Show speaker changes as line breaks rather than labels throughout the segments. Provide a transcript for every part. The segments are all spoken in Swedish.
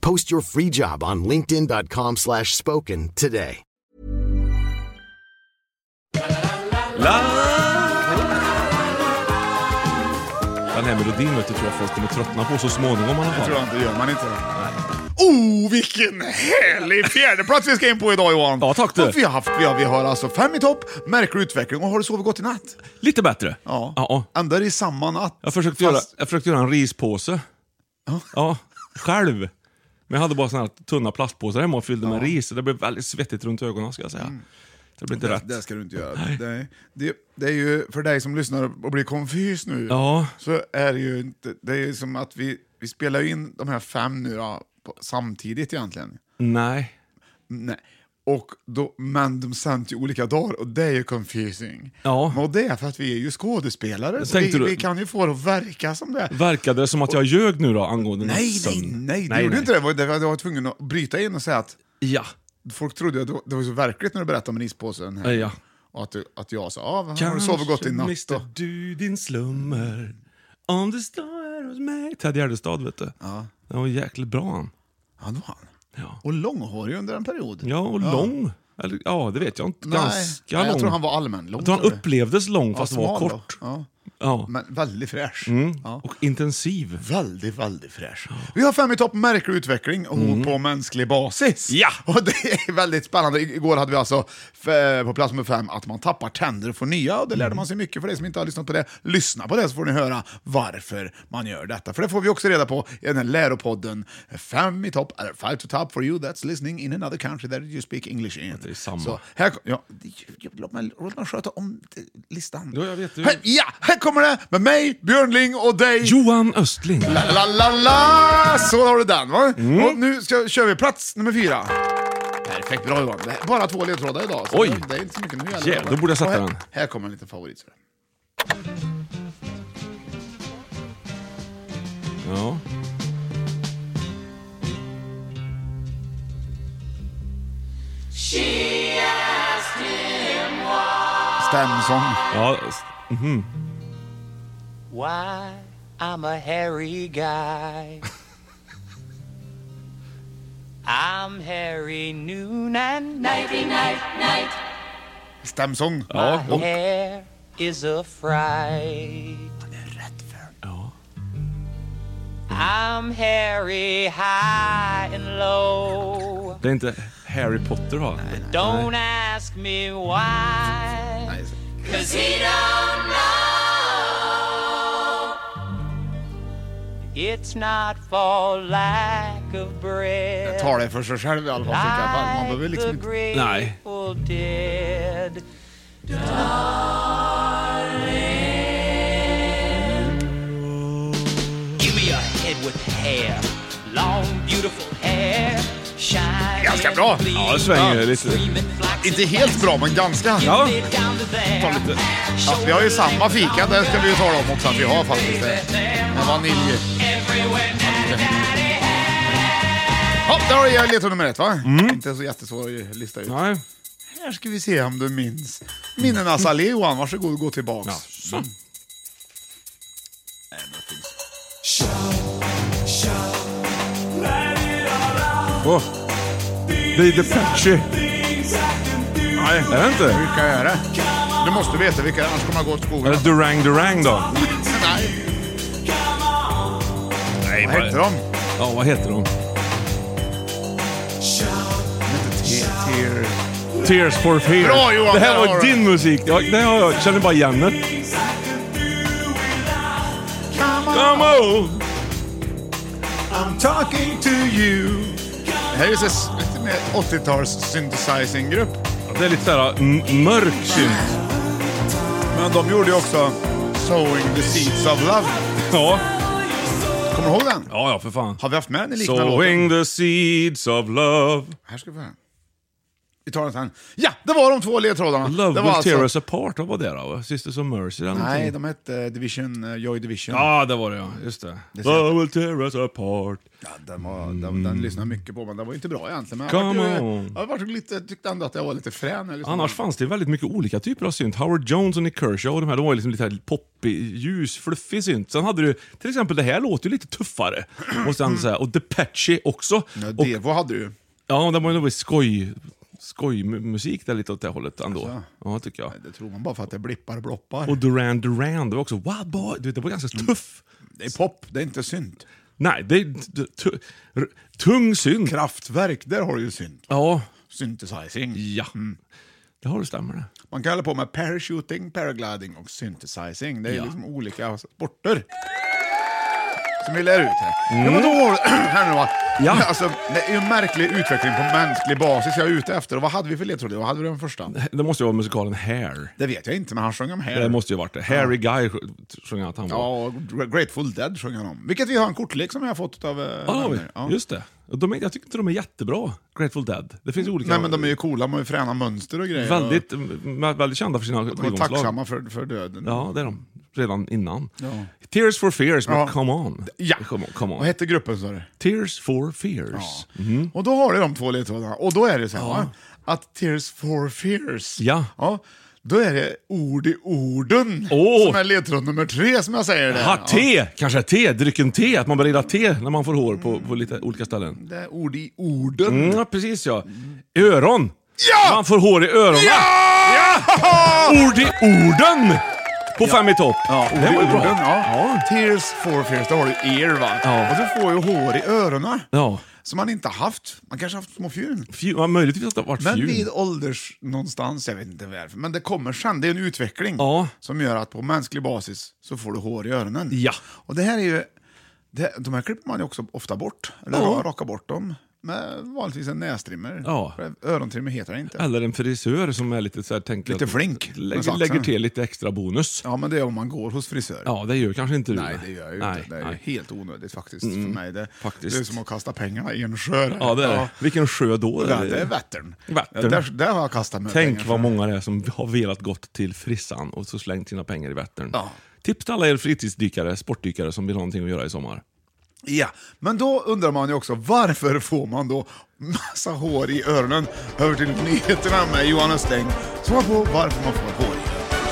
Post your free job on linkedin.com slash spoken today.
La! Den här melodin vet du, tror jag folk kommer tröttna på så småningom i alla
Det
fall.
tror jag inte, det gör man inte. Oh, vilken härlig fjärdeplats vi ska in på idag Johan!
Ja, tack du.
Och Vi har, haft, vi, har, vi har alltså fem i topp, märklig utveckling och har du sovit gott i natt?
Lite bättre.
Ja.
ja.
Ändå i samma natt.
Jag, försökte göra,
Fast-
jag försökte göra en rispåse. Ja, själv. Men jag hade bara såna här tunna plastpåsar hemma och fyllde med ris. Det blev väldigt svettigt runt ögonen ska jag säga. Det blev inte rätt.
Mm. Det ska du inte göra. Det, det, det är ju för dig som lyssnar och blir konfys nu,
Ja.
så är det ju inte... Det är ju som att vi, vi spelar ju in de här fem nu ja, på, samtidigt egentligen.
Nej.
Nej. Och då, men de sänds ju olika dagar och det är ju confusing.
Ja.
Men och det är för att vi är ju skådespelare, så vi,
Tänkte du-
vi kan ju få det att verka som det.
Verkade det som att jag ljög nu då angående
Nej, nej,
nattsömn?
nej, du gjorde inte det. Det var därför Jag var tvungen att bryta in och säga att
Ja.
folk trodde att det var- det var så verkligt när du berättade om rispåsen. Här.
Ja.
Och att, du, att jag sa, ah, vad- har du sovit gott i
Kanske
natt då?
mister du din slummer om du står här hos mig. Ted Gärdestad vet du. Ja. Den var jäkligt bra han.
Ja, det var han.
Ja.
Och långhårig under en period.
Ja, och lång. Eller, ja, det vet jag inte.
Nej,
Ganska
nej,
lång.
jag tror han var allmän. Lång,
Jag tror han
tror jag.
upplevdes lång
Ja,
fast var
smal då. Mm.
kort.
Ja.
Ja. Mm.
Men väldigt fräsch. Ja.
Och intensiv.
Väldigt, väldigt fräsch. Vi har fem i topp märklig utveckling och på mänsklig basis.
Mm. Ja!
Och det är väldigt spännande. Igår hade vi alltså f- på plats nummer fem att man tappar tänder och får nya. Och det
Mm.
lärde man sig mycket för dig som inte har lyssnat på det. Lyssna på det så får ni höra varför man gör detta. För det får vi också reda på i den här läropodden. Fem i topp, eller five to top for you that's listening in another country that you speak English in.
Det är samma.
Så här, kom- ja, låt, mig, låt mig sköta om eh, listan.
Ja, jag vet ju.
Här, ja, här kommer det med mig, Björn Ling och dig.
Johan Östling.
La, la, la, la. Så har du den va?
Mm.
Och nu ska, kör vi plats nummer fyra. Perfekt, bra Johan. Det är Bara två ledtrådar idag. så
Oj.
Det, det är inte så mycket nu
Yeah, då borde jag sätta
Och här,
den.
Här kommer en liten favorit. så.
Ja.
Stämsång.
ja. s-
Why I'm a hairy guy. I'm hairy noon and nighty night night.
Stämsång.
Ja,
My
och-
hair is a fright. I'm hairy high and low.
Det är inte Harry Potter va?
Don't ask me why.
Nice.
Cause he don't know. It's not for lack of bread.
Tar det för sig själv i alla fall. tycker jag. Man
Like
behöver liksom
the
inte...
grateful dead. Darling. Give me a head with hair. Long beautiful hair. Shine.
Ganska bra.
Ja, det svänger lite.
Inte helt bra, men ganska.
Ja.
Ta lite. Ja, vi har ju samma fika, det ska vi ju tala om också att vi har faktiskt. Det. Med vanilj. Ja, där har du ledtråd nummer ett va?
Mm.
Inte så jättesvår att lista ut.
Nej.
Här ska vi se om du minns. Minnenas allé Johan, varsågod och gå tillbaks.
Ja. Så. Åh. Det är Depeche.
Nej,
Är det inte?
vilka är det? Du måste veta vilka det är, annars kommer jag gå åt skogen.
Är det Durang Durang då?
Nej,
Nej,
vad hette de?
Ja, vad heter de? Tears for Fears.
Bra, Johan,
Det
där
här
har
var
du.
din musik. Jag, det har jag, jag känner bara igen det. Come on!
I'm talking to you. Det här är ju så s- lite mer 80-tals synthesizing-grupp.
Det är lite såhär m- mörk synt.
Men de gjorde ju också Sowing the Seeds of Love.
Ja.
Kommer du ihåg den?
ja, ja för fan.
Har vi haft med den i liknande
Sowing
låten?
the seeds of love.
Här ska vi få höra. Vi tar den sen. Ja, det var de två ledtrådarna.
Love
det
will
var alltså-
tear us apart. Vad var det då? Sisters of Mercy eller
Nej,
någonting?
de hette Division, eh, Joy Division.
Ja, det var det ja. Just det.
ser jag.
Love will tear us apart.
Ja, den, var, den, den lyssnade jag mycket på, men den var ju inte bra egentligen. Men jag,
Mm. Come
vart ju-
on.
jag vart lite, tyckte ändå att jag var lite frän. när jag lyssnade.
Annars fanns det ju väldigt mycket olika typer av synt. Howard Jones och Nick Kershaw och de här, de var ju liksom lite här poppig, ljus, fluffig synt. Sen hade du, till exempel, det här låter ju lite tuffare. Och sen så här, och Depeche också.
Ja,
och,
eh, Devo hade du ju.
ja, det var ju nog skoj, skojmusik där lite åt det hållet ändå. Ja, tycker jag.
Det tror man bara för att det blippar och bloppar.
Och Duran Duran, det var också wow boy, du vet, det var ganska tuff.
Mm. det är pop, det är inte synt.
Nej, det är d- tu- r- tung synt.
Kraftverk, där har du ju synt.
Ja,
Synthesizing.
ja.
Mm.
Det har du stämmer det.
Man kan hålla på med parachuting, paragliding och synthesizing. Det är
Ja.
liksom olika sporter. Som vi lär ut här. Ja, men då var det- här nu va.
Mm. Ja.
Alltså, det är ju en märklig utveckling på mänsklig basis jag är ute efter. Och vad hade vi för ledtråd? Vad hade vi den första?
Det måste ju vara musikalen Hair.
Det vet jag inte, men han sjöng om hair.
Det måste ju varit det. Harry Guy sj- sjöng att han var.
Ja, och Grateful Dead sjöng han om. Vilket vi har en kortlek som jag har fått av eh,
Ja, det har vi. Ah, Just det. Och De är, jag tycker inte de är jättebra, Grateful Dead. Det finns olika...
Mm. Nej men de är ju coola, de har ju fräna mönster och grejer.
väldigt, m- väldigt kända för sina
och de är
skivomslag.
tacksamma för, för döden.
Ja, det är de. Redan innan.
Ja.
Tears for Fears med
Ja.
Come On.
Ja.
Come on, Mhm. come
Vad
on.
hette gruppen sa du?
Tears for Fears.
Ja. Och då har du de två ledtrådarna. Och då är det så här, va? att Tears for Fears,
Ja.
Ja, då är det ord i orden
Åh.
som är ledtråd nummer tre som jag säger det.
Ha,
Ja,
te! Kanske te, drycken te, att man börjar gilla te när man får hår på, på lite olika ställen.
det är ord i orden.
Mm, ja, precis ja. Öron!
Ja!
Man får hår i öronen!
Ja!
Ord i orden! På Fem i topp.
Ja,
det var ju bra.
Ja.
Ja.
Tears for fears, då har du ear va?
Ja.
Och så får ju hår i öronen.
Ja.
Som man inte haft. Man kanske haft små fjun.
Fju- ja, möjligtvis att det har varit
Men
fjun.
vid ålders någonstans, jag vet inte varför, men det kommer sen. Det är en utveckling
Ja.
som gör att på mänsklig basis så får du hår i öronen.
Ja.
Och det här är ju, det, de här klipper man ju också ofta bort, eller
Ja.
rakar bort dem. Med vanligtvis en nästrimmer.
Ja.
För Örontrimmer heter det inte.
Eller en frisör som är lite så här, tänker
Lite
att-
flink med
Lägger,
saxen.
lägger till lite extra bonus. Ja,
Ja, men det är om man går hos frisör.
det gör kanske inte du.
Nej, det gör jag ju
Nej,
inte. Det är ju
nej. Mm,
helt onödigt faktiskt för mig. Det,
faktiskt.
det är som att kasta pengarna i en sjö.
Ja, det är det. Vilken sjö då?
Ja, det är Vättern.
Vättern.
Ja, Där, där har jag kastat mig
Tänk
pengar
vad
för.
många det är som har velat gått till frissan och så slängt sina pengar i Vättern.
Ja.
Tips till alla er fritidsdykare, sportdykare som vill ha någonting att göra i sommar.
Ja, men då undrar man ju också varför får man då massa hår i öronen? Över till nyheterna med Johan Östling. Svar på varför man får hår i öronen.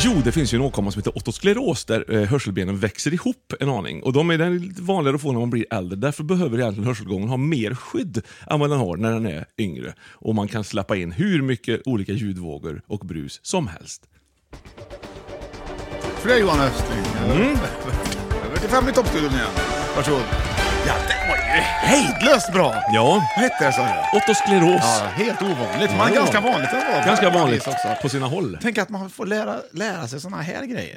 Jo, det finns ju en åkomma som heter otoskleros där eh, hörselbenen växer ihop en aning. Och de är den är lite vanligare att få när man blir äldre. Därför behöver egentligen hörselgången ha mer skydd än vad den har när den är yngre. Och man kan släppa in hur mycket olika ljudvågor och brus som helst.
För det är Johan Östling. Mm. Över till fem i toppstudion igen. Varsågod. Ja, det var ju hejdlöst bra!
Ja.
Vad hette det sa du?
Otoskleros.
Ja, helt ovanligt, men
Ja.
ganska vanligt ändå.
Ganska vanligt
Också.
på sina håll.
Tänk att man får lära, lära sig såna här grejer.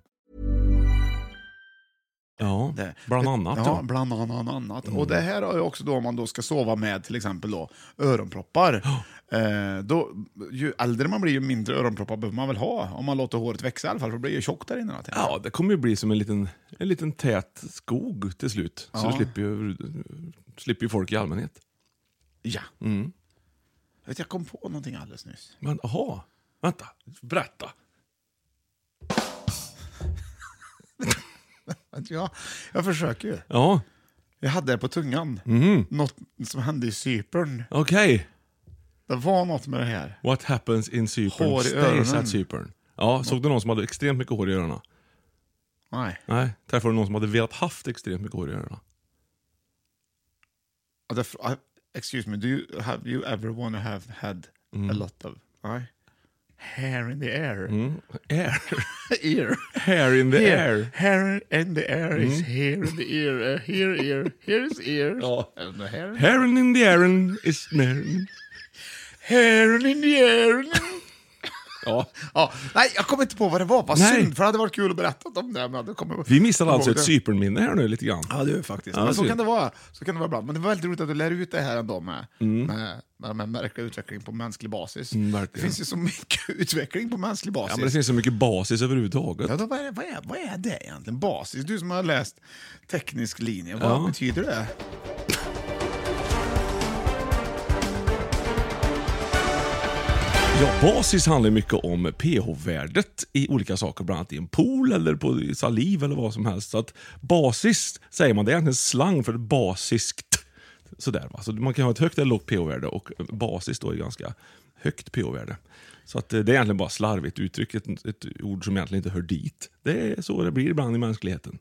Ja,
Det-
bland annat.
Ja,
Ja. Mm.
bland annan- annat. Och det här har ju också då om man då ska sova med till exempel då, öronproppar. Eh, då, ju äldre man blir ju mindre öronproppar behöver man väl ha om man låter håret växa i alla fall för det blir ju tjockt där inne. tänker jag.
ja, det kommer ju bli som en liten, en liten tät skog till slut. Så
Ja.
du slipper ju, slipper ju folk i allmänhet.
ja.
Mm.
Vet, du, jag kom på någonting alldeles nyss.
Men aha, vänta, berätta.
Ja, jag försöker ju.
Ja,
Jag hade det på tungan.
Mhm.
Något som hände i Cypern.
okej.
Det var något med det här.
What happens in Cypern
Hår i
stays
öronen.
at Cypern. Ja, såg du någon som hade extremt mycket hår i öronen?
Nej.
Nej, träffade du någon som hade velat haft extremt mycket hår i öronen?
Ja, det- I- ah, Excuse me, do you, have you ever wanna have had
Mm.
a lot of... Nej. Hair in the air.
Air.
ear.
Mm. Hair Mm. in the
Here.
air.
Hair in the air is here in the ear. Uh, here, ear. Here is ear. And the hair.
Hair in the air is... near.
Hair in the air.
Ja.
ja, nej, jag kommer inte på vad det var. Vad
Nej.
synd, för det hade varit kul att berätta om det. Men det kommer...
Vi missade alltså
ihåg
ett
det.
Cypernminne här nu lite grann.
Ja, det är faktiskt.
Ja,
men så
synd.
kan det vara. Så kan det vara ibland. Men det var väldigt roligt att du lär ut det här ändå med, med, med den här märkliga utvecklingen på mänsklig basis. det
Mm. verkligen.
finns ju så mycket utveckling på mänsklig basis.
Ja, men det finns så mycket basis överhuvudtaget.
Ja, då, vad, är, vad, är, vad är det egentligen? Basis? Du som har läst teknisk linje, vad
Ja.
betyder det?
Ja, basis handlar ju mycket om pH-värdet i olika saker, bland annat i en pool eller på i saliv eller vad som helst. Så att basis säger man, det är egentligen slang för basiskt. Sådär, va? Så man kan ha ett högt eller lågt pH-värde och basis då är ganska högt pH-värde. Så att eh, det är egentligen bara slarvigt uttryck, ett, ett ord som egentligen inte hör dit. Det är så det blir ibland i mänskligheten.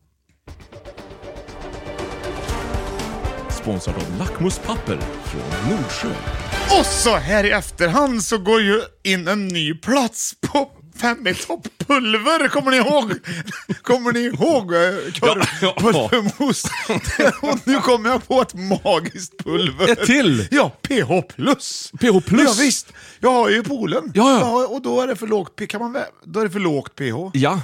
Sponsrad av Lackmuspapper från Nordsjö.
Och så här i efterhand så går ju in en ny plats på fem i topp-pulver, kommer ni ihåg? Kommer ni ihåg eh, korv,
Ja, ja.
pulvermos? Och nu kommer jag på ett magiskt pulver.
Ett till.
Ja, PH+. plus.
PH+.
Ja, visst. jag har ju polen.
Ja, ja.
och då är det för lågt, P- kan man, vä- då är det för lågt pH,
Ja,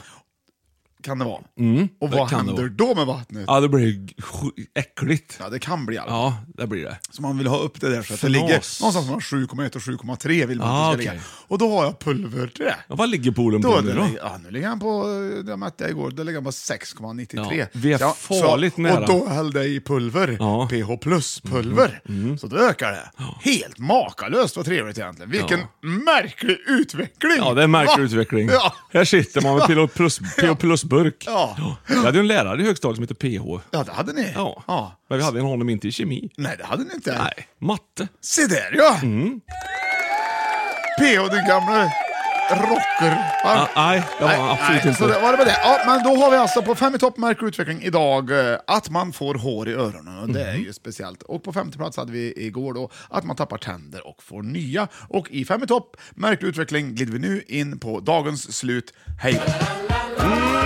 kan det vara. och
Mm. det
vad
kan det
händer då med vattnet?
Ja, det blir sj- äckligt.
Ja, det kan bli i alla fall.
Ja, det blir det.
Så man vill ha upp det där så att det
Fnas.
ligger någonstans mellan 7,1 och 7,3 vill man
Ah,
att det ska
okej.
ligga. Och då har jag pulver till det.
Ja, vad ligger poolen
Då,
på
det
nu då?
ligger, ja, nu ligger han på, eh, det mätte jag igår, då ligger han på 6,93.
Ja, vi är
Så jag-
farligt
så,
nära.
Och då hällde jag i pulver,
Ja. Mhm. Mm.
pH plus-pulver. Så då ökar det. Helt makalöst vad trevligt egentligen. Vilken märklig utveckling!
Ja, det är en märklig
Va?
utveckling.
Ja.
Här sitter man med PH plus, PH plus burk.
Ja.
Jag hade ju en lärare i högstadiet som hette PH.
ja, det hade ni.
Ja. Men vi hade honom inte i kemi.
Nej, det hade ni inte.
Nej, matte.
Se där ja!
Mm.
PH den gamle rocker.
Ah, nej, det var han absolut
nej, Så
inte.
det var det med det. Ja, men då har vi alltså på fem i topp märker utveckling idag eh, att man får hår i öronen och det
Mm.
är ju speciellt. Och på femte plats hade vi igår då att man tappar tänder och får nya. Och i fem i topp märklig utveckling glider vi nu in på dagens slut. Hej då!